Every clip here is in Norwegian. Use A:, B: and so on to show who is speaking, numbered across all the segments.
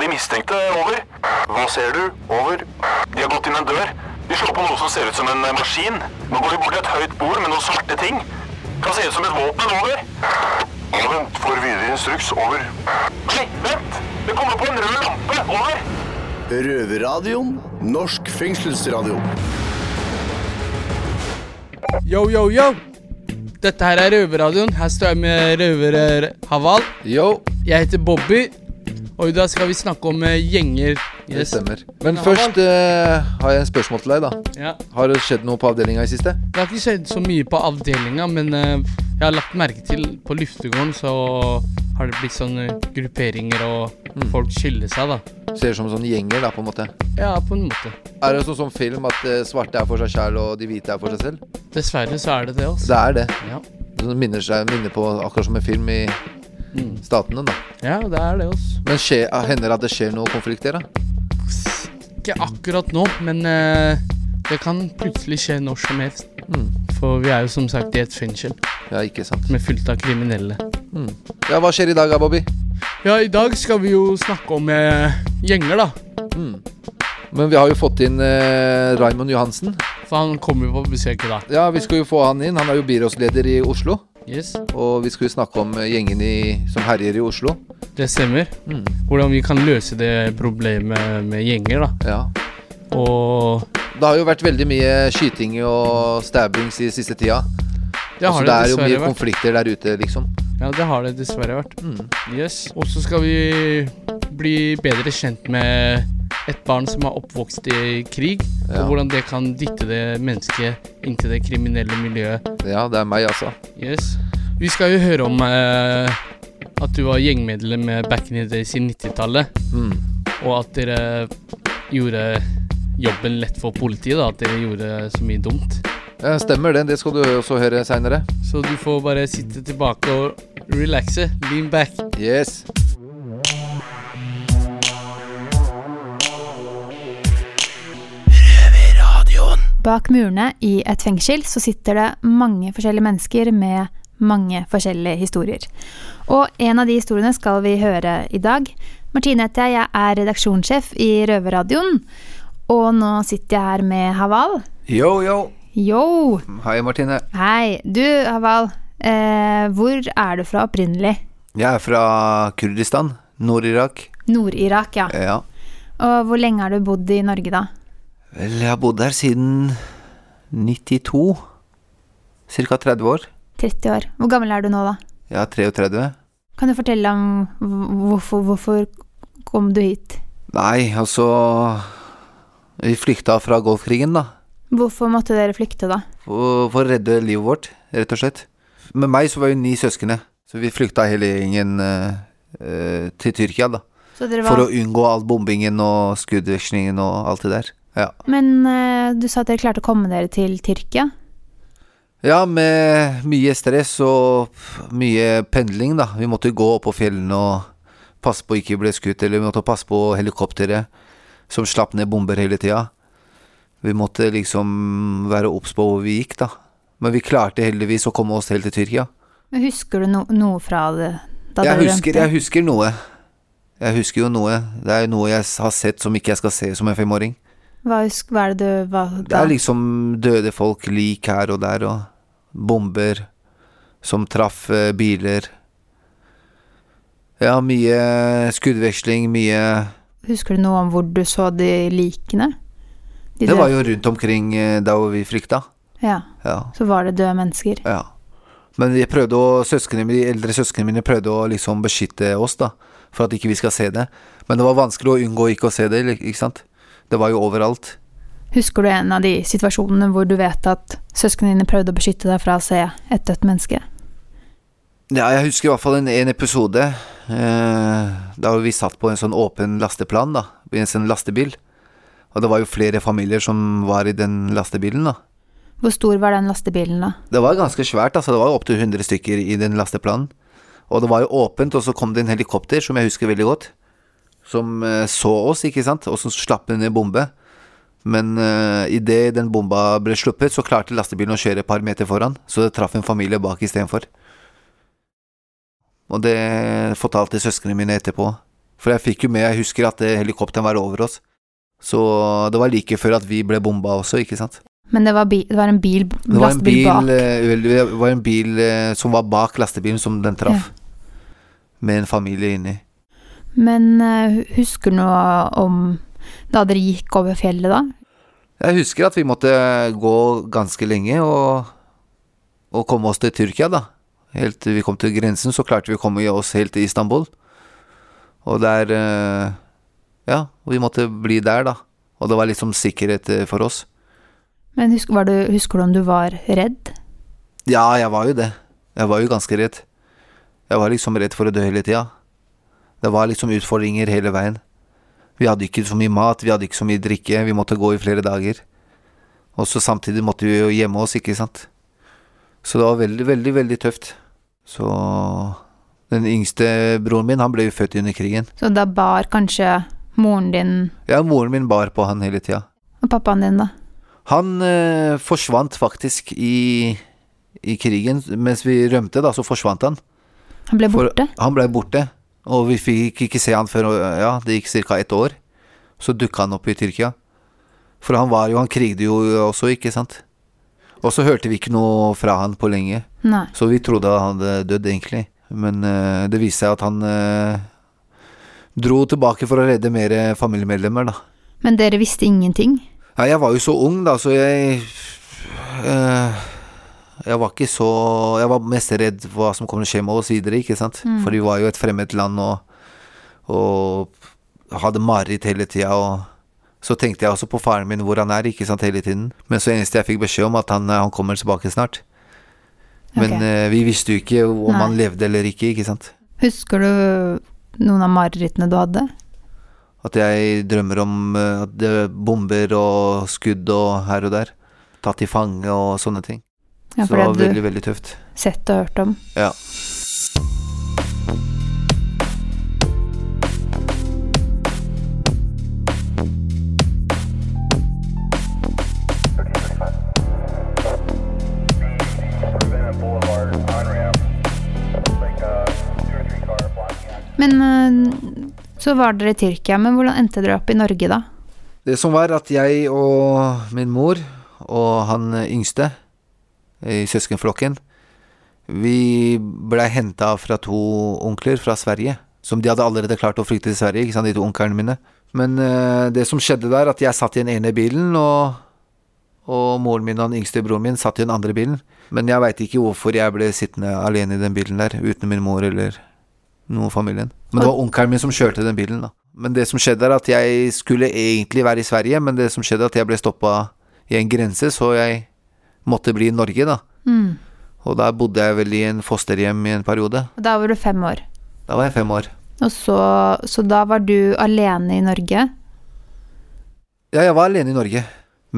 A: De mistenkte. Over. Hva ser du? Over. De har gått inn en dør. De slår på noe som ser ut som en eh, maskin. Nå går de bort til et høyt bord med noen svarte ting. Kan se ut som et våpen. Over. Vent, får videre instruks. Over. Nei, vent! Det kommer på en rød lampe. Over.
B: Røverradioen. Norsk fengselsradio.
C: Yo, yo, yo! Dette her er Røverradioen. Her står jeg med røver eh, Haval.
D: Yo,
C: Jeg heter Bobby, og i dag skal vi snakke om eh, gjenger.
D: det
C: Yes.
D: stemmer. Men først eh, har jeg et spørsmål til deg, da.
C: Ja.
D: Har det skjedd noe på avdelinga i siste?
C: Det har ikke skjedd så mye på avdelinga, men eh, jeg har lagt merke til på luftegården så har det blitt sånne grupperinger, og folk skiller seg, da.
D: Ser ut som sånne gjenger, da, på en måte.
C: Ja, på en måte.
D: Er det sånn som film at eh, svarte er for seg sjæl, og de hvite er for seg selv?
C: Dessverre så er det det, altså.
D: Det er det.
C: Ja.
D: Det minner, seg, minner på akkurat som en film i statene, da.
C: ja, det er det, altså.
D: Men skje, ah, hender det at det skjer noen konflikter, da?
C: Ikke akkurat nå, men eh, det kan plutselig skje når som helst. For vi er jo som sagt i et fengsel
D: Ja, ikke sant.
C: med fullt av kriminelle.
D: Ja, hva skjer i dag, da, Bobby?
C: Ja, i dag skal vi jo snakke om eh, gjenger, da.
D: Men vi har jo fått inn eh, Raymond Johansen.
C: For han kommer jo på besøk i dag.
D: Ja, vi skal jo få han inn. Han er jo byrådsleder i Oslo.
C: Yes,
D: Og vi skal jo snakke om eh, gjengen i, som herjer i Oslo.
C: Det stemmer.
D: Mm.
C: Hvordan vi kan løse det problemet med gjenger, da.
D: Ja,
C: Og
D: Det har jo vært veldig mye skyting og stabbings i siste tida.
C: Altså, det
D: så
C: har
D: det
C: det
D: er jo
C: dessverre
D: mye
C: vært.
D: konflikter der ute, liksom.
C: Ja, det har det dessverre vært.
D: Mm.
C: Yes. Og så skal vi bli bedre kjent med et barn som er oppvokst i krig,
D: Ja.
C: og hvordan det kan dytte det mennesket inn til det kriminelle miljøet.
D: Ja, det er meg, altså.
C: Yes. Vi skal jo høre om eh, at du var gjengmedlem med back in the days i 90-tallet,
D: Mm.
C: og at dere gjorde jobben lett for politiet, da, at dere gjorde så mye dumt.
D: Ja, stemmer det. Det skal du også høre seinere.
C: Så du får bare sitte tilbake og relaxe. Lean back.
D: Yes.
E: Bak murene i et fengsel så sitter det mange forskjellige mennesker med mange forskjellige historier. Og en av de historiene skal vi høre i dag. Martine heter jeg, jeg er redaksjonssjef i Røverradioen. Og nå sitter jeg her med Haval.
D: Yo, yo.
E: Yo!
D: Hei, Martine.
E: Hei. Du, Haval. Eh, hvor er du fra opprinnelig?
D: Jeg er fra Kurdistan. Nord-Irak.
E: Nord-Irak, ja.
D: Ja.
E: Og hvor lenge har du bodd i Norge, da?
D: Vel, jeg har bodd her siden 92. Cirka 30 år.
E: 30 år. Hvor gammel er du nå, da?
D: Jeg er 33.
E: Kan du fortelle om hv- hvorfor, hvorfor kom du hit?
D: Nei, altså Vi flykta fra Golfkrigen, da.
E: Hvorfor måtte dere flykte, da?
D: for, for å redde livet vårt, rett og slett. Med meg så var jo ni søskene, så vi flykta hele gjengen eh, eh, til Tyrkia, da.
E: Så dere var,
D: For å unngå all bombingen og skuddvekslingen og alt det der. Ja,
E: Men eh, du sa at dere klarte å komme dere til Tyrkia.
D: ja med mye stress og f- mye pendling, da. Vi måtte gå opp på fjellene og passe på ikke ble skutt, eller vi måtte passe på helikopteret som slapp ned bomber hele tida. Vi måtte liksom være obs på hvor vi gikk, da. Men vi klarte heldigvis å komme oss helt til Tyrkia.
E: Men Husker du no noe fra det? Da
D: jeg,
E: dere
D: husker,
E: rømte?
D: jeg husker noe. Jeg husker jo noe. Det er jo noe jeg s- har sett som ikke jeg skal se som en femåring.
E: Hva, husk, hva er det du hva,
D: Det er liksom døde folk, lik her og der, og bomber som traff eh, biler. Ja, mye skuddveksling, mye
E: Husker du noe om hvor du så de likene? De
D: Det var jo rundt omkring eh, der hvor vi frykta.
E: Ja,
D: Ja.
E: Så var det døde mennesker.
D: Ja. Men vi prøvde å, søskene, de eldre søsknene mine prøvde å liksom beskytte oss, da. For at ikke vi skal se det. Men det var vanskelig å unngå ikke å se det, eller- ikke sant. Det var jo overalt.
E: Husker du en av de situasjonene hvor du vet at søsknene dine prøvde å beskytte deg fra å se et dødt menneske?
D: Ja, jeg husker i hvert fall en, en episode eh, da vi satt på en sånn åpen lasteplan, da. I en sånn lastebil. Og det var jo flere familier som var i den lastebilen, da.
E: Hvor stor var den lastebilen da?
D: Det var ganske svært, altså. Det var opptil 100 stykker i den lasteplanen. Og det var jo åpent, og så kom det en helikopter, som jeg husker veldig godt, som eh, så oss, ikke sant, og som slapp ned en bombe. Men uh, idet den bomba ble sluppet, så klarte lastebilen å kjøre et par meter foran, så det traff en familie bak istedenfor. Og det fortalte søsknene mine etterpå. For jeg fikk jo med, jeg husker at eh, helikopteren var over oss. Så det var like før at vi ble bomba også, ikke sant.
E: Men det var, bi det var en bil,
D: Det var en
E: lastebil
D: bil,
E: bak.
D: eh, vel, det var en bil eh, som var bak lastebilen som den traff. Med en familie inni.
E: Men eh, husker du noe om da dere gikk over fjellet, da?
D: Jeg husker at vi måtte gå ganske lenge og, og komme oss til Tyrkia, da. Helt til vi kom til grensen, så klarte vi å komme oss helt til Istanbul. Og der eh, Ja, vi måtte bli der, da. Og det var liksom sikkerhet eh, for oss.
E: Men husker, var du, husker du om du var redd?
D: Ja, jeg var jo det. Jeg var jo ganske redd. Jeg var liksom redd for å dø hele tida. Det var liksom utfordringer hele veien. Vi hadde ikke så mye mat, vi hadde ikke så mye drikke, vi måtte gå i flere dager. Og så samtidig måtte vi jo gjemme oss, ikke sant. Så det var veldig, veldig, veldig tøft. Så Den yngste broren min, han ble jo født under krigen.
E: Så da bar kanskje moren din
D: Ja, moren min bar på han hele tida.
E: og pappaen din, da?
D: Han eh, forsvant faktisk i, i krigen. Mens vi rømte, da, så forsvant han.
E: Han ble
D: For
E: borte?
D: han ble borte, og vi fikk ikke se han før ja, det gikk ca. ett år. Så dukka han opp i Tyrkia. For han var jo Han krigde jo også, ikke sant? Og så hørte vi ikke noe fra han på lenge,
E: Nei.
D: så vi trodde han hadde dødd, egentlig. Men eh, det viste seg at han eh, dro tilbake for å redde mer familiemedlemmer, da.
E: Men dere visste ingenting?
D: Nei, jeg var jo så ung, da, så jeg eh, Jeg var ikke så Jeg var mest redd for hva som kommer til å skje med oss videre, ikke sant.
E: Mm.
D: For vi var jo et fremmed land og, og hadde mareritt hele tida. Og så tenkte jeg også på faren min, hvor han er, ikke sant, hele tiden. Men så eneste jeg fikk beskjed om, at han, eh, han kommer tilbake snart. Men
E: Ok.
D: eh, vi visste jo ikke om
E: Nei.
D: han levde eller ikke, ikke sant.
E: Husker du noen av marerittene du hadde?
D: At jeg drømmer om eh, at det er bomber og skudd og her og der. Tatt til fange og sånne ting.
E: Ja,
D: så
E: for
D: det
E: det
D: var
E: hadde
D: veldig,
E: du
D: veldig tøft.
E: sett og hørt om.
D: Ja.
E: Men eh, så var dere i Tyrkia, men hvordan endte dere opp i Norge da?
D: Det som var at jeg og min mor og han yngste i søskenflokken Vi blei henta fra to onkler fra Sverige. Som de hadde allerede klart å flykte til Sverige, ikke sant, de to onklene mine. Men eh, det som skjedde der, at jeg satt i den ene bilen, og, og moren min og den yngste broren min satt i den andre bilen. Men jeg veit ikke hvorfor jeg ble sittende alene i den bilen der, uten min mor eller noen familien. Men det var onkelen min som kjørte den bilen, da. Men det som skjedde, er at jeg skulle egentlig være i Sverige, men det som skjedde, er at jeg ble stoppa i en grense, så jeg måtte bli i Norge, da. Og der bodde jeg vel i en fosterhjem i en periode.
E: Og Da var du fem år.
D: Da var jeg fem år.
E: Og så, så da var du alene i Norge.
D: Ja, jeg var alene i Norge.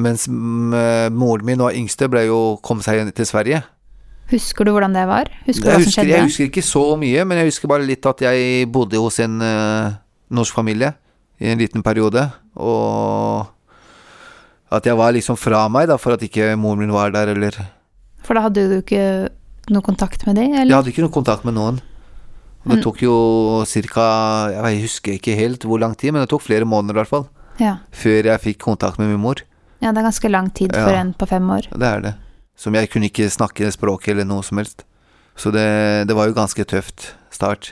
D: Mens mm, eh, moren min og yngste ble jo kom seg igjen til Sverige.
E: Husker du hvordan det var? Husker du hva
D: Jeg
E: som
D: husker,
E: skjedde?
D: jeg husker ikke så mye, men jeg husker bare litt at jeg bodde hos en eh, norsk familie i en liten periode. Og at jeg var liksom fra meg, da, for at ikke moren min var der, eller
E: For da hadde du ikke noe kontakt med dem,
D: Jeg
E: eller?
D: hadde ikke noen kontakt med noen. Og
E: Mm.
D: det tok jo ca. Jeg vet- jeg husker ikke helt hvor lang tid, men det tok flere måneder i hvert fall.
E: Ja.
D: Før jeg fikk kontakt med min mor.
E: ja, det er ganske lang tid for
D: Ja.
E: en på fem år.
D: Det er det. Som jeg kunne ikke snakke språket eller noe som helst. Så det, det var jo ganske tøft start.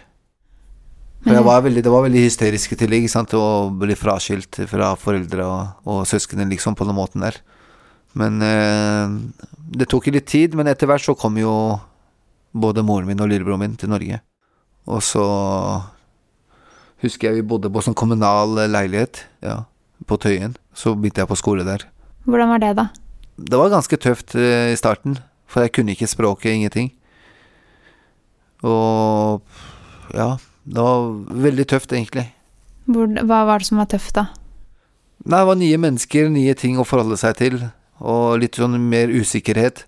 D: For jeg var veldig, det var veldig hysterisk i tillegg, ikke sant, å bli fraskilt fra foreldre og, og søskene, liksom, på den måten der. Men eh, det tok jo litt tid, men etter hvert så kom jo både moren min og lillebroren min til Norge. Og så husker jeg vi bodde på sånn kommunal leilighet, ja, på Tøyen. Så begynte jeg på skole der.
E: Hvordan var det, da?
D: Det var ganske tøft eh, i starten, for jeg kunne ikke språket, ingenting. Og ja, det var veldig tøft, egentlig.
E: Hvor, hva var det som var tøft, da?
D: Nei, det var nye mennesker, nye ting å forholde seg til, og litt sånn mer usikkerhet.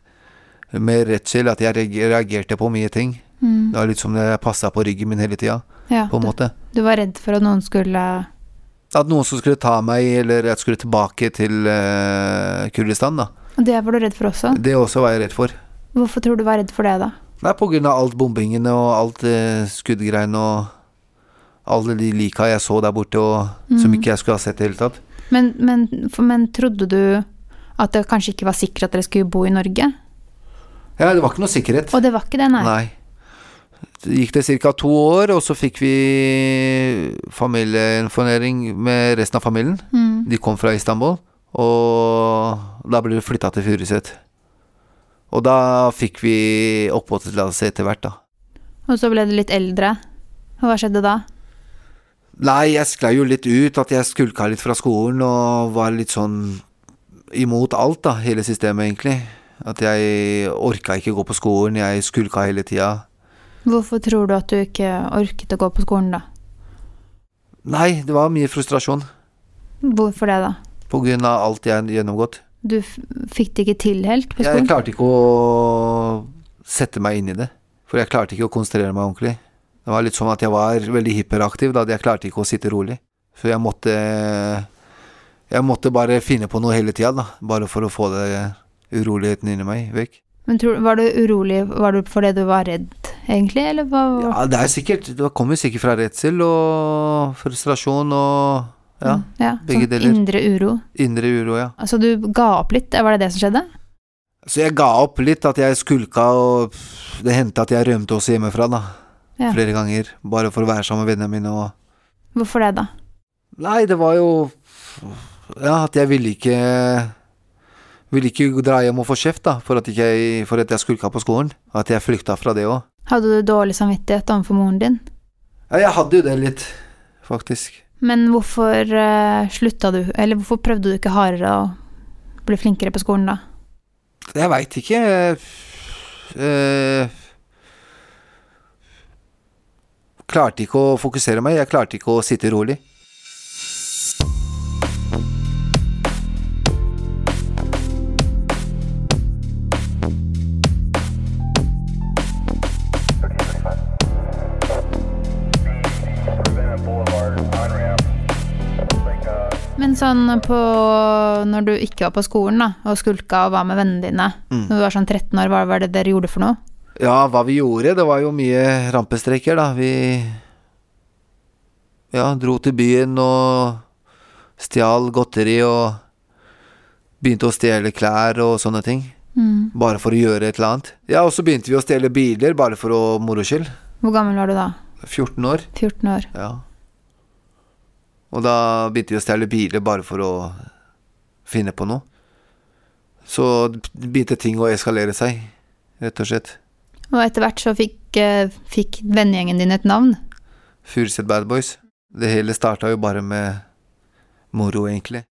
D: Mer redsel, at jeg reag- reagerte på mye ting. Det var litt som det passa på ryggen min hele tida,
E: Mm. Ja,
D: på en
E: du,
D: måte.
E: du var redd for at noen skulle
D: At noen som skulle ta meg, eller jeg skulle tilbake til eh, Kurdistan, da.
E: Og det var du redd for også?
D: Det også var jeg redd for.
E: Hvorfor tror du du var redd for det, da?
D: Nei, på grunn av alt bombingene og alt eh, skuddgreiene og alle de lika jeg så der borte, og som ikke jeg skulle ha sett i det hele tatt.
E: Men, men, for, men trodde du at det kanskje ikke var sikkert at dere skulle bo i Norge?
D: Ja, det var ikke noe sikkerhet.
E: Og det var ikke det, nei.
D: Nei. Så gikk det ca. to år, og så fikk vi familieinformering med resten av familien. De kom fra Istanbul, og da ble det flytta til Furuset. Og da fikk vi oppholdstillatelse etter hvert, da.
E: Og så ble du litt eldre. Og hva skjedde da?
D: Nei, jeg sklei jo litt ut, at jeg skulka litt fra skolen og var litt sånn imot alt, da, hele systemet, egentlig. At jeg orka ikke gå på skolen, jeg skulka hele tida.
E: Hvorfor tror du at du ikke orket å gå på skolen, da?
D: Nei, det var mye frustrasjon
E: Hvorfor det, da?
D: på grunn av alt jeg har gjennomgått.
E: Du f fikk det ikke til helt på
D: Jeg
E: skolen?
D: klarte ikke å sette meg inn i det, for jeg klarte ikke å konsentrere meg ordentlig. Det var litt sånn at jeg var veldig hyperaktiv, da jeg klarte ikke å sitte rolig. Så jeg måtte Jeg måtte bare finne på noe hele tida, da, bare for å få det uroligheten inni meg vekk.
E: Men tror, var du urolig var du fordi du var redd, egentlig? Eller hva?
D: Ja, det er sikkert Det kommer sikkert fra redsel og frustrasjon og ja,
E: ja
D: begge
E: sånn
D: deler.
E: Indre uro.
D: indre uro, ja.
E: Altså, du ga opp litt? Var det det som skjedde?
D: Så jeg ga opp litt, at jeg skulka, og det hendte at jeg rømte også hjemmefra, da.
E: Ja.
D: Flere ganger. Bare for å være sammen med vennene mine og
E: Hvorfor det, da?
D: Nei, det var jo Ja, at jeg ville ikke Ville ikke dra hjem og få kjeft, da, for at, ikke jeg, for at jeg skulka på skolen. At jeg flykta fra det òg.
E: Hadde du dårlig samvittighet overfor moren din?
D: Ja, jeg hadde jo det litt, faktisk.
E: Men hvorfor eh, slutta du, eller hvorfor prøvde du ikke hardere å bli flinkere på skolen, da?
D: Jeg veit ikke eh, Klarte ikke å fokusere meg. Jeg klarte ikke å sitte rolig.
E: Men sånn på Når du ikke var på skolen, da, og skulka og var med vennene dine
D: Mm.
E: Når du var sånn 13 år, hva var det dere gjorde for noe?
D: Ja, hva vi gjorde, det var jo mye rampestreker, da. Vi ja, dro til byen og stjal godteri og begynte å stjele klær og sånne ting. Bare for å gjøre et eller annet. Ja, og så begynte vi å stjele biler, bare for å moro skyld.
E: Hvor gammel var du da?
D: 14 år.
E: 14 år.
D: Ja. Og da begynte vi å stjele biler bare for å finne på noe. Så begynte ting å eskalere seg, rett og slett.
E: Og etter hvert så fikk, eh, fikk vennegjengen din et navn.
D: Furuset Bad Boys. Det hele starta jo bare med moro, egentlig.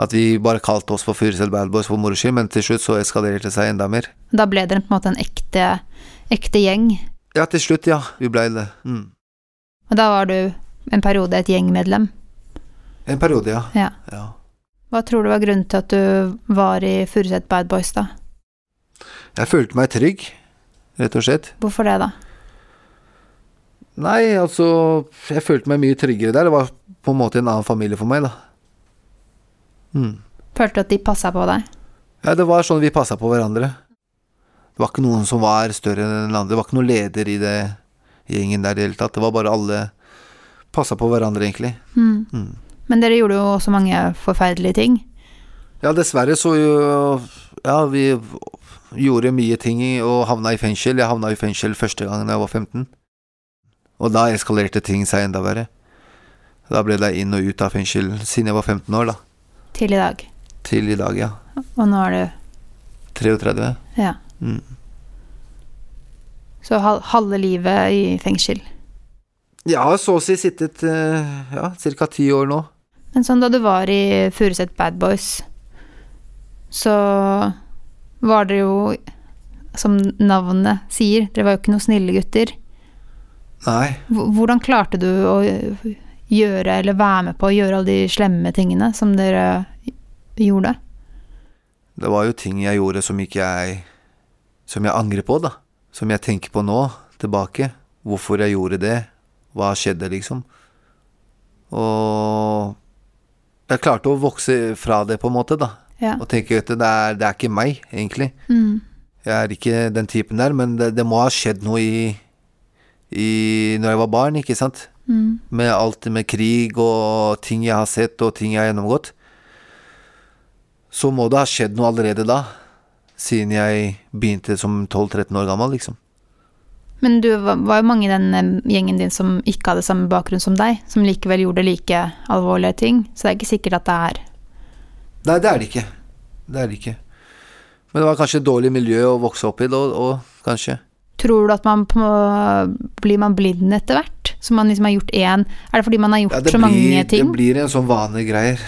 D: At vi bare kalte oss for Furuset Bad Boys for moro skyld, men til slutt så eskalerte det seg enda mer.
E: Da ble dere på en måte en ekte, ekte gjeng.
D: Ja, til slutt, ja. Vi blei det. Mm.
E: Og da var du en periode et gjengmedlem.
D: En periode, ja.
E: Ja.
D: ja.
E: Hva tror du var grunnen til at du var i Furuset Bad Boys, da?
D: Jeg følte meg trygg, rett og slett.
E: Hvorfor det, da?
D: Nei, altså Jeg følte meg mye tryggere der. Det var på en måte en annen familie for meg, da. Mm.
E: Følte du at de passa på deg?
D: Ja, det var sånn vi passa på hverandre. Det var ikke noen som var større enn den andre. Det var ikke noen leder i det gjengen der i det hele tatt. Det var bare alle passa på hverandre, egentlig.
E: Mm.
D: Mm.
E: Men dere gjorde jo også mange forferdelige ting.
D: Ja, dessverre så jo Ja, vi gjorde mye ting i- og havna i fengsel. Jeg havna i fengsel første gangen jeg var 15. Og da eskalerte ting seg enda verre. Da ble det inn og ut av fengsel siden jeg var 15 år, da.
E: Til i dag.
D: Til i dag, ja.
E: Og nå er du
D: 33.
E: Ja.
D: Mm.
E: Så hal- halve livet i fengsel.
D: Jeg har så å si sittet eh, ja, ca. ti år nå.
E: Men sånn da du var i Furuset Bad Boys, så var dere jo, som navnet sier, dere var jo ikke noen snille gutter.
D: Nei.
E: H- Hvordan klarte du å gjøre, eller være med på å gjøre alle de slemme tingene som dere gjorde?
D: Det var jo ting jeg gjorde som ikke jeg Som jeg angrer på, da. Som jeg tenker på nå, tilbake. Hvorfor jeg gjorde det. Hva skjedde, liksom. Og jeg klarte å vokse fra det, på en måte, da.
E: Ja.
D: Og tenke at det er, det er ikke meg, egentlig.
E: Mm.
D: Jeg er ikke den typen der, men det, det må ha skjedd noe i, i Når jeg var barn, ikke sant.
E: Mm.
D: Med alt med krig og ting jeg har sett, og ting jeg har gjennomgått. Så må det ha skjedd noe allerede da. Siden jeg begynte som 12-13 år gammel, liksom.
E: Men du var var jo mange i den eh, gjengen din som ikke hadde samme bakgrunn som deg, som likevel gjorde like alvorlige ting, så det er ikke sikkert at det er
D: Nei, det er det ikke. Det er det ikke. Men det var kanskje et dårlig miljø å vokse opp i, da, og kanskje.
E: Tror du at man på, blir man blind etter hvert? Så man liksom har gjort én Er det fordi man har gjort
D: Ja, det,
E: så mange
D: blir, det
E: ting?
D: blir en sånn vanegreier.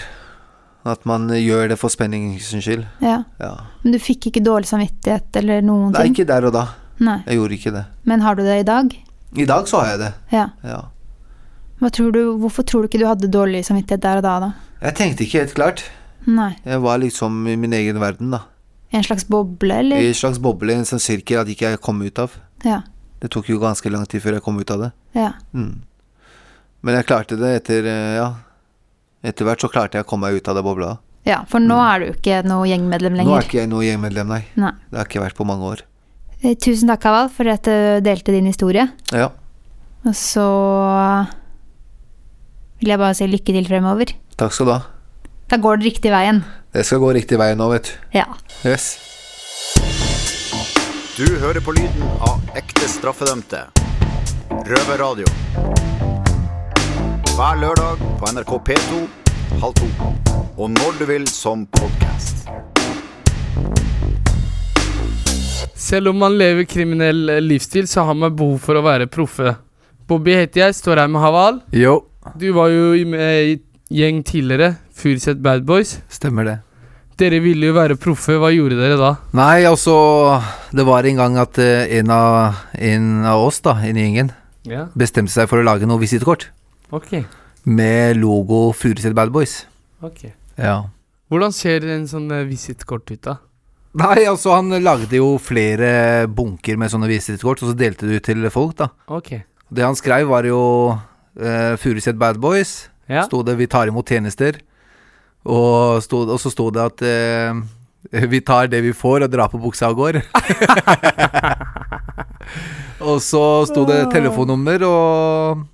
D: At man gjør det for spenningens skyld.
E: Ja.
D: Ja.
E: Men du fikk ikke dårlig samvittighet eller noen
D: Nei,
E: ting?
D: ikke der og da.
E: Nei.
D: Jeg gjorde ikke det.
E: Men har du det i dag?
D: I dag så har jeg det.
E: Ja.
D: Ja.
E: Hva tror du, hvorfor tror du ikke du hadde dårlig samvittighet der og da, da?
D: Jeg tenkte ikke helt klart.
E: Nei.
D: Jeg var liksom i min egen verden, da.
E: En slags boble,
D: I
E: eller?
D: en slags boble, en sånn sirkel at ikke jeg kom ut av.
E: Ja.
D: Det tok jo ganske lang tid før jeg kom ut av det.
E: ja.
D: Mm. Men jeg klarte det etter eh, Ja. Etter hvert så klarte jeg å komme meg ut av det bobla.
E: Ja, for nå er du ikke noe gjengmedlem
D: Mm. Nå er
E: lenger.
D: ikke jeg noe gjengmedlem, nei.
E: Nei.
D: Det har ikke vært på mange år.
E: Eh, Tusen takk, Haval, for at du delte din historie.
D: Ja.
E: Og så vil jeg bare si lykke til fremover.
D: Takk skal du ha.
E: Da går det riktig veien.
D: Det skal gå riktig vei nå, vet du.
E: Ja.
D: Yes.
F: Du hører på lyden av ekte straffedømte. Røverradio. Hver lørdag på NRK P2 halv to. Og når du vil som podkast.
C: Selv om man lever kriminell eh, livsstil, så har man behov for å være proffe. Bobby heter jeg, står her med Haval.
D: Jo,
C: Du var jo i- med i gjeng tidligere, Furuset Bad Boys.
D: stemmer det.
C: Dere ville jo være proffe, hva gjorde dere da?
D: Nei, altså Det var en gang at eh, en av, en av oss, da, en i gjengen,
C: Ja,
D: bestemte seg for å lage noe visittkort
C: ok,
D: med logo Furuset Bad Boys.
C: ok.
D: Ja.
C: Hvordan ser en sånn eh, visittkort ut da?
D: Nei, altså han lagde jo flere bunker med sånne visittkort, og så delte du ut til folk, da.
C: Ok,
D: Det han skrev, var jo eh, Furuset Bad Boys.
C: ja.
D: Sto det 'Vi tar imot tjenester', og, stod, og så sto det at eh, 'Vi tar det vi får, og drar på buksa og går'. og så sto det telefonnummer og,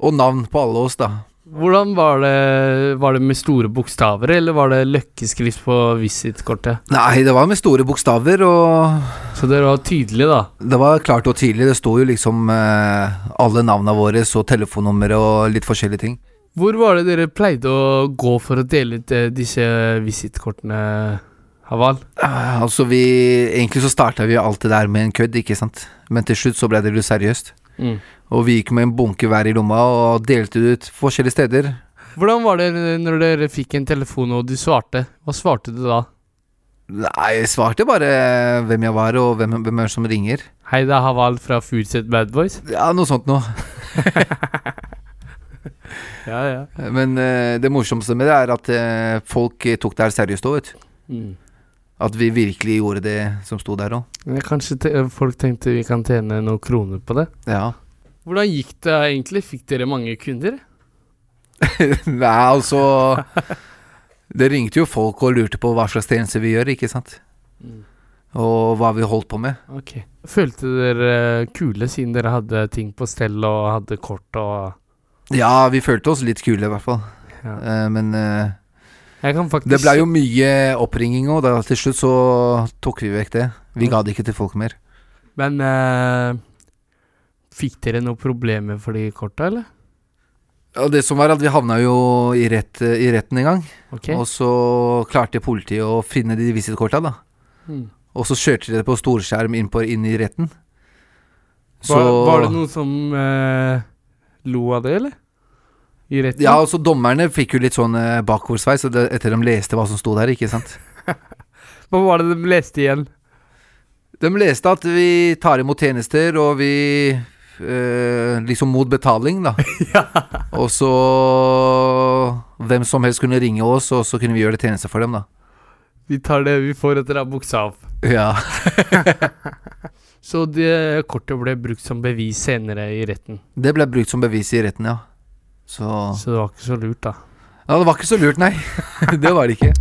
D: og navn på alle oss, da.
C: Hvordan var det, var det med store bokstaver, eller var det løkkeskrift på visitkortet?
D: Nei, det var med store bokstaver, og
C: Så dere var tydelige da.
D: Det var klart og tydelig. Det sto jo liksom eh, alle navna våre og telefonnummeret og litt forskjellige ting.
C: Hvor var det dere pleide å gå for å dele ut eh, disse visitkortene, Haval?
D: Eh, altså vi Egentlig så starta vi jo alt det der med en kødd, ikke sant. Men til slutt så ble det litt seriøst.
C: Mm.
D: Og vi gikk med en bunke hver i lomma og delte det ut forskjellige steder.
C: Hvordan var det når dere fikk en telefon og du svarte? Hva svarte du da?
D: Nei, jeg svarte bare hvem jeg var og hvem, hvem er det som ringer.
C: Hei, det er Haval fra Furuset Bad Boys.
D: Ja, noe sånt noe.
C: Ja, ja.
D: Men eh, det morsomste med det er at eh, folk eh, tok det her seriøst òg, vet du.
C: Mm.
D: At vi virkelig gjorde det som sto der òg.
C: Men Kanskje te folk tenkte vi kan tjene noen kroner på det.
D: Ja.
C: Hvordan gikk det egentlig? Fikk dere mange kunder?
D: Nei, altså Det ringte jo folk og lurte på hva slags tjeneste vi gjør, ikke sant?
C: Mm.
D: Og hva vi holdt på med.
C: Ok. Følte dere kule siden dere hadde ting på stell og hadde kort og
D: Ja, vi følte oss litt kule, i hvert fall.
C: Ja.
D: Eh, Men eh,
C: Jeg kan faktisk
D: det blei jo mye oppringing òg, da til slutt så tok vi vekk det. Vi ga det ikke til folk mer.
C: Men eh, fikk dere noen problemer for de korta, eller?
D: Og det som var at vi havna jo i, rett, i retten en gang,
C: Ok.
D: og så klarte politiet å finne de visittkorta, da.
C: Mm.
D: Og så kjørte de det på storskjerm inn, på, inn i retten.
C: Var, var det noen som eh, lo av det, eller? I retten?
D: Ja, altså dommerne fikk jo litt sånn eh, bakoversveis og det- etter de leste hva som sto der, ikke sant.
C: Hva var det de leste igjen?
D: De leste at vi tar imot tjenester, og vi eh, liksom mot betaling, da. Og så hvem som helst kunne ringe oss, og så kunne vi gjøre det tjeneste for dem, da.
C: Vi tar det vi får etter å ha buksa av.
D: Ja.
C: Så det kortet ble brukt som bevis senere i retten.
D: Det ble brukt som bevis i retten, ja. Så
C: Så det var ikke så lurt, da.
D: Ja, det var ikke så lurt, nei. det var det ikke.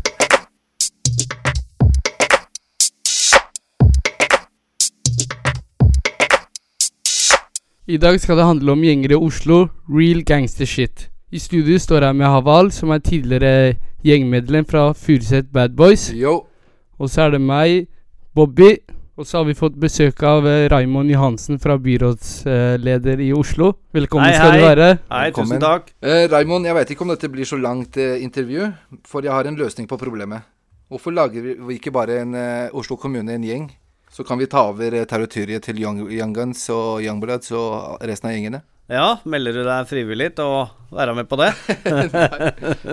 C: I dag skal det handle om gjenger i Oslo. Real gangster shit. I studio står jeg med Haval, som er tidligere gjengmedlem fra Furuset Bad Boys.
D: Yo.
C: Og så er det meg, Bobby. Og så har vi fått besøk av eh, Raymond Johansen fra byrådsleder eh, i Oslo. Velkommen
G: Hei,
C: skal du
G: hei.
C: være.
G: Hei,
D: Velkommen.
G: tusen takk.
D: Eh, Raimond, jeg veit ikke om dette blir så langt eh, intervju, for jeg har en løsning på problemet. Hvorfor lager vi- vi ikke bare en eh, Oslo kommune en gjeng? Så kan vi ta over eh, territoriet til Young, young Guns og Young Bloods og resten av gjengene.
G: Ja, melder du deg frivillig til å være med på det?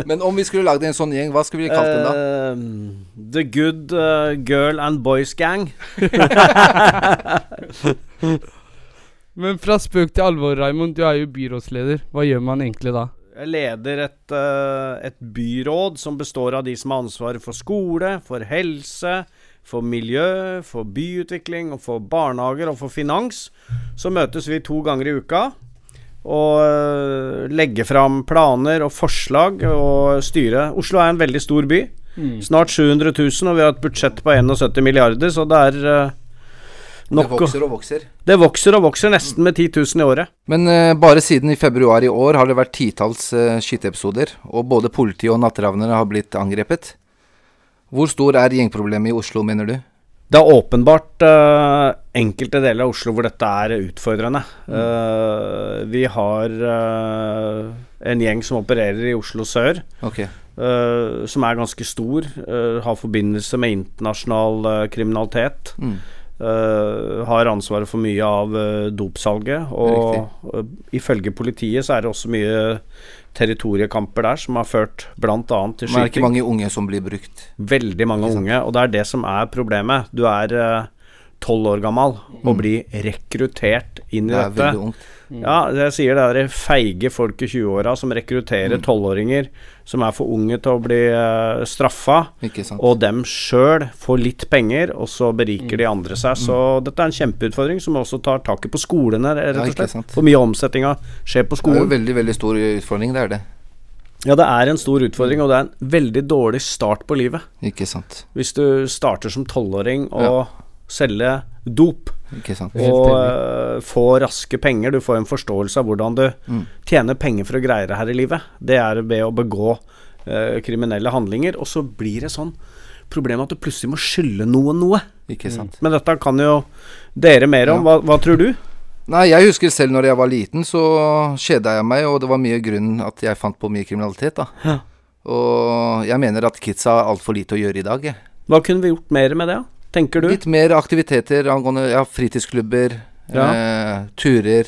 D: Men om vi skulle lagd en sånn gjeng, hva skulle vi kalt den da?
G: Eh, the Good eh, Girl and Boys Gang.
C: Men fra spøk til alvor, Raymond. Du er jo byrådsleder. Hva gjør man egentlig da?
G: Jeg leder et, eh, et byråd som består av de som har ansvaret for skole, for helse, for miljø, for byutvikling, og for barnehager og for finans. Så møtes vi to ganger i uka og eh, legger fram planer og forslag og styre. Oslo er en veldig stor by. Snart 700 000, og vi har et budsjett på 71 milliarder, så det er eh,
D: Det
G: nok å
D: vokser og vokser.
G: Det vokser og vokser, nesten med 10 000 i året.
D: Men eh, bare siden i februar i år har det vært titalls eh, skyteepisoder, og både politiet og natteravnere har blitt angrepet. Hvor stor er gjengproblemet i Oslo, mener du?
G: Det er åpenbart eh, enkelte deler av Oslo hvor dette er utfordrende. Eh, vi har eh, en gjeng som opererer i Oslo sør,
D: Ok.
G: eh, som er ganske stor. eh, har forbindelse med internasjonal eh, kriminalitet.
D: Mm.
G: eh, har ansvaret for mye av eh, dopsalget. Og eh, ifølge politiet så er det også mye territoriekamper der som har ført bl.a. til
D: Men er det
G: skyting.
D: ikke mange unge som blir brukt?
G: Veldig mange unge, og det er det som er problemet. Du er eh, tolv år gammel og blir rekruttert inn i
D: Mm. Det er
G: dette.
D: veldig ungt.
G: Ja, jeg sier det er de feige folk i 20-åra som rekrutterer
D: Mm.
G: tolvåringer som er for unge til å bli uh, straffa,
D: Ikke sant.
G: og dem sjøl får litt penger, og så beriker de andre seg. Så dette er en kjempeutfordring som også tar taket på skolene,
D: Mm.
G: rett
D: Ja,
G: og
D: ikke
G: slett.
D: sant.
G: For mye av omsetninga skjer på
D: Det er
G: skolen.
D: jo en veldig, veldig stor utfordring, det er det.
G: Ja, det er en stor utfordring, og det er en veldig dårlig start på livet.
D: Ikke sant.
G: Hvis du starter som tolvåring og selger dop
D: Ikke sant.
G: og eh, får raske penger, du får en forståelse av hvordan du tjener penger for å greie det her i livet, det er ved å begå eh, kriminelle handlinger. Og så blir det sånn problem at du plutselig må skylde noen noe.
D: Ikke sant.
G: Men dette kan jo dere mer om. Hva, hva tror du?
D: Nei, jeg husker selv når jeg var liten, så kjeda jeg meg, og det var mye grunnen at jeg fant på mye kriminalitet, da.
G: Ja.
D: Og jeg mener at kidsa har altfor lite å gjøre i dag, jeg.
G: Hva kunne vi gjort mer med det, tenker du?
D: Litt mer aktiviteter angående ja, fritidsklubber,
G: Ja.
D: eh, turer,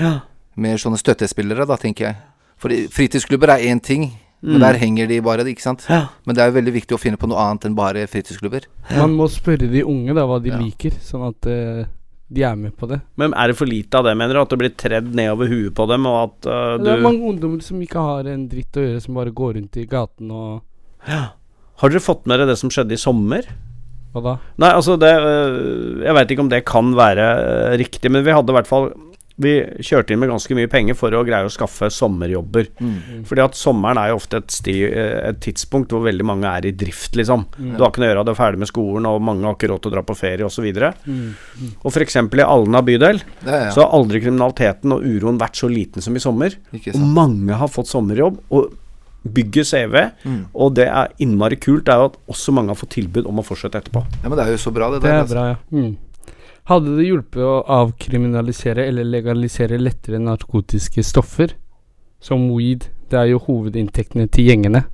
G: Ja.
D: mer sånne støttespillere, da, tenker jeg. For i- fritidsklubber er én ting, men der henger de bare, ikke sant.
G: Mm. Ja.
D: Men det er jo veldig viktig å finne på noe annet enn bare fritidsklubber.
C: Man må spørre de unge da hva de
D: Ja.
C: liker, sånn at eh, de er med på det.
G: Men er det for lite av det, mener du? At det blir tredd nedover huet på dem, og at eh,
C: Det er
G: du
C: mange ungdommer som ikke har en dritt å gjøre, som bare går rundt i gaten og
G: Har dere fått med dere det som skjedde i sommer?
C: Hva da?
G: Nei, altså det øh, Jeg veit ikke om det kan være øh, riktig, men vi hadde i hvert fall Vi kjørte inn med ganske mye penger for å greie å skaffe sommerjobber.
D: Mm.
G: Fordi at sommeren er jo ofte et, sti, øh, et tidspunkt hvor veldig mange er i drift, liksom. Du har ikke noe å gjøre, du er ferdig med skolen, og mange har ikke råd til å dra på ferie, osv. Og f.eks. i Alna bydel
D: Ja,
G: så har aldri kriminaliteten og uroen vært så liten som i sommer.
D: Ikke
G: Og
D: sant.
G: mange har fått sommerjobb og bygger CV,
D: Mm.
G: og det er innmari kult. Det er jo at også mange har fått tilbud om å fortsette etterpå.
D: ja, men det er jo så bra, det
C: Det
D: der. altså.
C: er bra, ja. Mm. Hadde det hjulpet å avkriminalisere eller legalisere lettere narkotiske stoffer, som weed? Det er jo hovedinntektene til gjengene.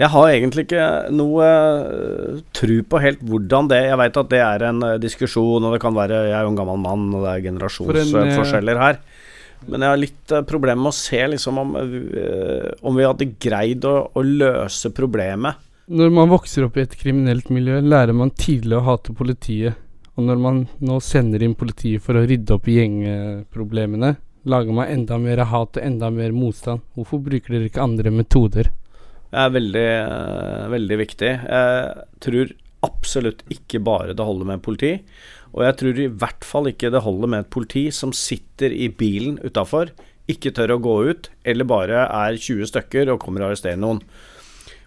G: Jeg har egentlig ikke noe øh, tru på helt hvordan det Jeg veit at det er en øh, diskusjon, og det kan være Jeg er jo en gammel mann, og
C: For
G: det er
C: en, øh,
G: generasjonsforskjeller her. Men jeg har litt uh, problemer med å se liksom om, øh, om vi hadde greid å, å løse problemet.
C: Når man vokser opp i et kriminelt miljø, lærer man tidlig å hate politiet. Og når man nå sender inn politiet for å rydde opp i gjengeproblemene, lager man enda mer hat og enda mer motstand. Hvorfor bruker dere ikke andre metoder?
G: Det er veldig, eh, veldig viktig. Jeg tror absolutt ikke bare det holder med politi. Og jeg tror i hvert fall ikke det holder med et politi som sitter i bilen utafor, ikke tør å gå ut, eller bare er 20 stykker og kommer og arresterer noen.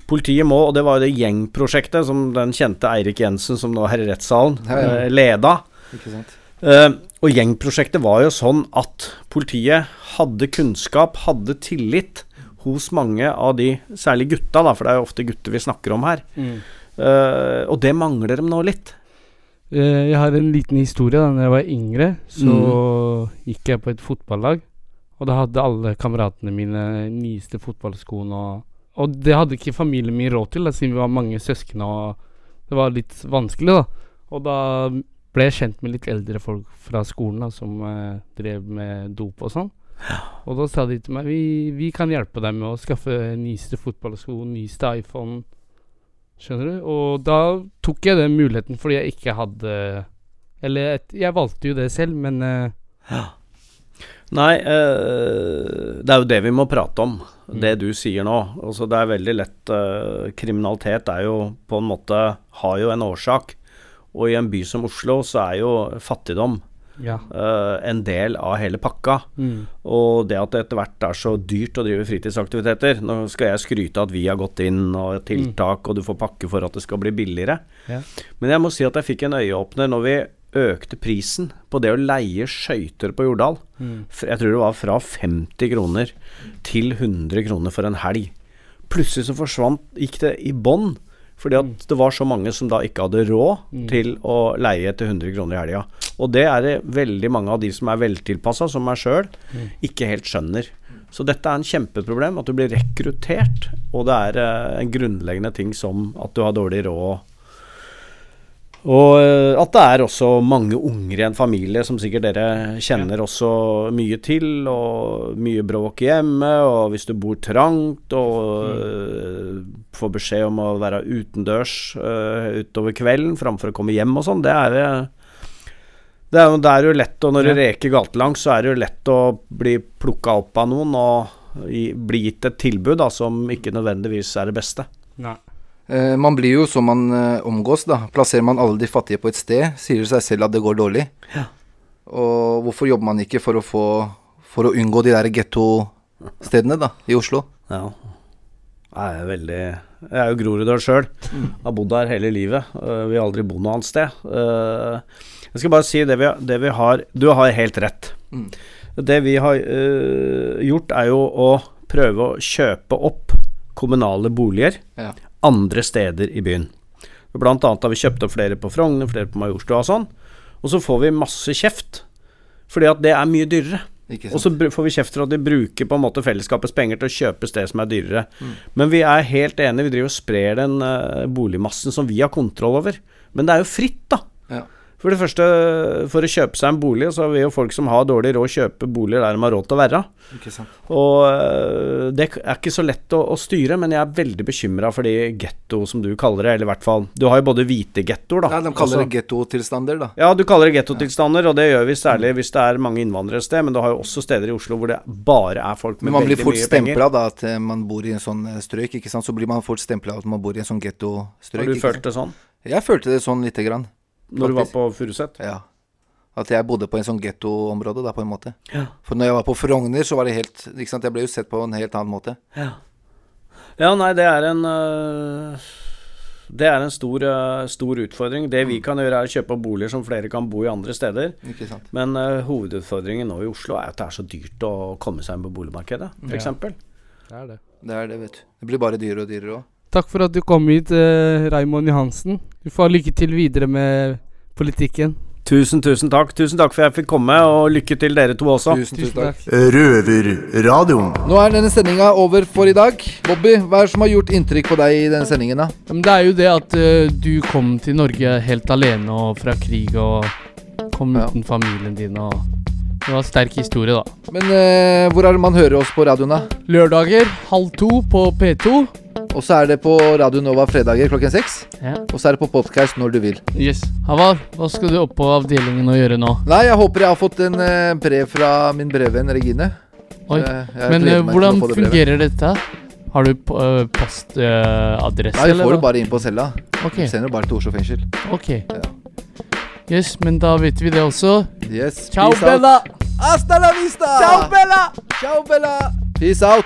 G: Politiet må, og det var jo det gjengprosjektet som den kjente Eirik Jensen, som nå er i rettssalen,
D: Ja, ja.
G: eh, leda.
D: Ikke sant.
G: Eh, og gjengprosjektet var jo sånn at politiet hadde kunnskap, hadde tillit hos mange av de, særlig gutta, da, for det er jo ofte gutter vi snakker om her. Eh, og det mangler dem nå litt.
C: Eh, Jeg har en liten historie. Da når jeg var yngre, så gikk jeg på et fotballag. Og da hadde alle kameratene mine nyeste fotballskoene. Og, og det hadde ikke familien min råd til, da, siden vi var mange søsken. Og det var litt vanskelig, da. Og da ble jeg kjent med litt eldre folk fra skolen da, som eh, drev med dop og sånn. Og da sa de til meg vi, vi kan hjelpe deg med å skaffe nyeste fotballsko, nyeste iPhone. Skjønner du? Og da tok jeg den muligheten fordi jeg ikke hadde Eller et, jeg valgte jo det selv, men eh,
G: Nei, eh, det er jo det vi må prate om, det du sier nå. Altså, det er veldig lett eh, Kriminalitet er jo på en måte Har jo en årsak. Og i en by som Oslo så er jo fattigdom
C: ja.
G: eh, en del av hele pakka. Og det at det etter hvert er så dyrt å drive fritidsaktiviteter Nå skal jeg skryte av at vi har gått inn og tiltak, og du får pakke for at det skal bli billigere.
C: Ja.
G: Men jeg må si at jeg fikk en øyeåpner når vi økte prisen på det å leie skøyter på Jordal. F- Jeg tror det var fra 50 kroner til 100 kroner for en helg. Plutselig så forsvant Gikk det i bånn. Fordi at det var så mange som da ikke hadde råd til å leie til 100 kroner i helga. Og det er det veldig mange av de som er veltilpassa, som meg sjøl, ikke helt skjønner. Så dette er en kjempeproblem, at du blir rekruttert. Og det er eh, en grunnleggende ting som at du har dårlig råd. Og eh, at det er også mange unger i en familie som sikkert dere kjenner også mye til, og mye bråk hjemme, og hvis du bor trangt og eh, får beskjed om å være utendørs eh, utover kvelden framfor å komme hjem og sånn, det er eh, det er, jo, det er jo lett, og når du reker gatelangs, så er det jo lett å bli plukka opp av noen og i, bli gitt et tilbud da, som ikke nødvendigvis er det beste.
C: Nei.
D: Eh, Man blir jo som man eh, omgås, da. Plasserer man alle de fattige på et sted, sier det seg selv at det går dårlig. Og hvorfor jobber man ikke for å få For å unngå de der gettostedene, da, i Oslo?
G: Ja. Jeg er veldig Jeg er jo groruddør sjøl. Har bodd her hele livet. Øh, Vi har aldri bodd noe annet sted. Øh, Jeg skal bare si det vi, det vi har Du har helt rett. Det vi har øh, gjort, er jo å prøve å kjøpe opp kommunale boliger
D: Ja.
G: andre steder i byen. Blant annet har vi kjøpt opp flere på Frogner, flere på Majorstua og sånn. Og så får vi masse kjeft, fordi at det er mye dyrere.
D: Ikke
G: Og
D: sant?
G: så br- får vi kjeft for at vi bruker på en måte fellesskapets penger til å kjøpe sted som er dyrere.
D: Mm.
G: Men vi er helt enige, vi driver og sprer den eh, boligmassen som vi har kontroll over. Men det er jo fritt, da.
D: Ja.
G: For det første, for å kjøpe seg en bolig, så vil jo folk som har dårlig råd, kjøpe boliger der de har råd til å være.
D: Ikke sant?
G: Og øh, det k- er ikke så lett å, å styre, men jeg er veldig bekymra for de getto, som du kaller det. Eller i hvert fall Du har jo både hvite gettoer, da.
D: Nei, de kaller
G: Altså-
D: det gettotilstander, da.
G: ja, du kaller det gettotilstander, og det gjør vi særlig
D: Mm.
G: hvis det er mange innvandrere et sted, men du har jo også steder i Oslo hvor det bare er folk med
D: Men man blir
G: veldig
D: fort
G: mye penger.
D: stempla, da, at eh, man bor i en sånn eh, strøk, ikke sant. Så blir man fort stempla at man bor i en sånn gettostrøk.
G: Har du
D: ikke
G: følt
D: sant?
G: det sånn
D: Jeg følte det sånn lite grann.
G: når du var
D: Faktisk.
G: på Furuset?
D: Ja. At jeg bodde på en sånn gettoområde, da, på en måte.
G: Ja.
D: For når jeg var på Frogner, så var det helt Ikke sant, jeg ble jo sett på en helt annen måte.
G: Ja, nei, det er en øh, Det er en stor, øh, stor utfordring. Det
D: Mm.
G: vi kan gjøre, er å kjøpe boliger som flere kan bo i andre steder.
D: Ikke sant.
G: Men øh, hovedutfordringen nå i Oslo er at det er så dyrt å komme seg inn på boligmarkedet, f.eks.
C: Det er det.
D: Det er det, vet du. Det blir bare dyrere og dyrere òg.
C: Takk for at du kom hit, eh, Raymond Johansen. Du får ha lykke til videre med politikken.
G: Tusen, tusen takk. Tusen takk for jeg fikk komme, og lykke til dere to også.
D: Tusen, tusen takk.
B: Røverradioen.
D: Nå er denne sendinga over for i dag. Bobby, hva er det som har gjort inntrykk på deg i denne sendingen, da?
C: Men det er jo det at eh, du kom til Norge helt alene og fra krig og kom
D: Ja.
C: uten familien din og Det var en sterk historie, da.
D: Men eh, hvor er det man hører oss på radioen, da?
C: Lørdager halv to på P2.
D: Og så er det på Radio Nova fredager klokken seks.
C: Ja.
D: Og så er det på podkast når du vil.
C: Yes. Havar, hva skal du opp på avdelingen og gjøre nå?
D: Nei, jeg håper jeg har fått en eh, brev fra min brevvenn Regine.
C: Oi.
D: Jeg- jeg
C: Men
D: gleder
C: eh,
D: meg til å
C: hvordan
D: få det brevet.
C: fungerer dette? Har du uh, postadresse,
D: Nei, vi får
C: eller?
D: det bare inn på cella.
C: Ok,
D: Vi sender det bare til Oslo fengsel.
C: ok. Yes, men da vet vi det også.
D: Yes.
C: Ciao,
D: peace out.
C: Bella!
D: Hasta la vista! Ciao, Bella! Ciao, Bella! Peace out!